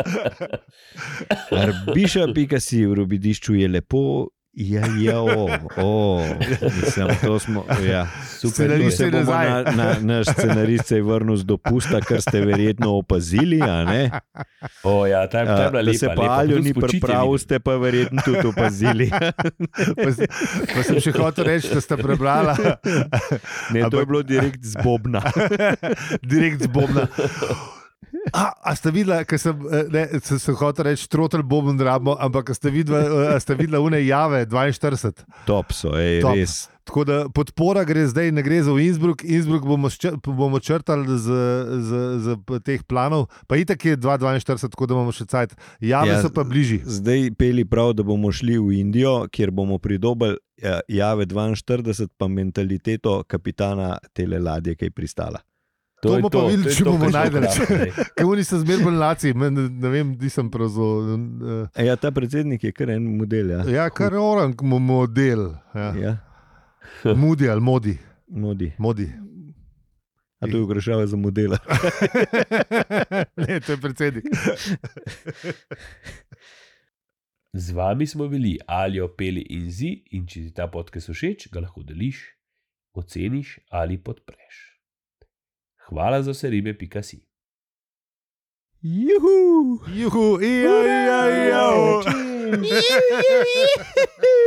Speaker 3: Arbiša, pika si, v robidišču je lepo, ja, ja, o, o. Mislim, to smo, ja.
Speaker 2: Super,
Speaker 1: Scenarij Scenariste
Speaker 3: Scenarist se bomo
Speaker 1: nazaj.
Speaker 3: na, na, naš scenarist se je vrnil z dopusta, kar ste verjetno opazili. a ne?
Speaker 2: O, ja, ta je ta je bila
Speaker 3: A, Da se
Speaker 2: lepa.
Speaker 3: pa
Speaker 2: lepa.
Speaker 3: Aljo
Speaker 2: Tudi
Speaker 3: ni
Speaker 2: spočitje
Speaker 3: pripravil,
Speaker 2: vidim.
Speaker 3: ste pa verjetno tudi opazili.
Speaker 1: Pa, s- pa sem še hotel reči, da ste prebrala
Speaker 3: Ne, to
Speaker 1: Ampak-
Speaker 3: je bilo direkt z Bobna.
Speaker 1: direkt z Bobna. A, a ste videla, ker sem, eh, ne, sem, sem hotel reči, trotel bom in rabimo, ampak a ste videla, a ste videla une jave 42.
Speaker 3: Top so, ej,
Speaker 1: Top.
Speaker 3: Top. res.
Speaker 1: Tako da podpora gre zdaj, ne gre za v Innsbruck, Innsbruck bomo, ščr, bomo črtali z, z, z teh planov, pa itak je 2,42, tako da imamo še cajt. Jave ja,
Speaker 3: Ja,
Speaker 1: so pa bližji.
Speaker 3: Zdaj peli prav, da bomo šli v Indijo, kjer bomo pridobili eh, Jave 42, pa mentaliteto kapitana tele ladje, ki je pristala.
Speaker 1: to
Speaker 2: je
Speaker 1: bomo pa
Speaker 2: to,
Speaker 1: videli,
Speaker 2: to je
Speaker 1: če
Speaker 2: to,
Speaker 1: bomo
Speaker 2: kar smo
Speaker 1: najdeli.
Speaker 2: uporabili.
Speaker 1: Kaj oni so zmerno bolj laci, men, ne vem, nisem pravzaprav. eh,
Speaker 3: E, ja, ta predsednik je kar en model. Ja,
Speaker 1: Ja, kar orang mo- model. Ja.
Speaker 3: ja
Speaker 1: Mudi ali modi.
Speaker 3: modi.
Speaker 1: modi.
Speaker 3: A to je vprašanje za modela.
Speaker 1: ne, to je predsednik.
Speaker 2: Z vami smo bili Aljo, Peli in Zi, in če ti ta podcast všeč, ga lahko deliš, oceniš ali podpreš. Hvala za vse ribe, pika si.
Speaker 3: Juhu!
Speaker 1: Juhu, ja, ja, ja.
Speaker 3: Juhu!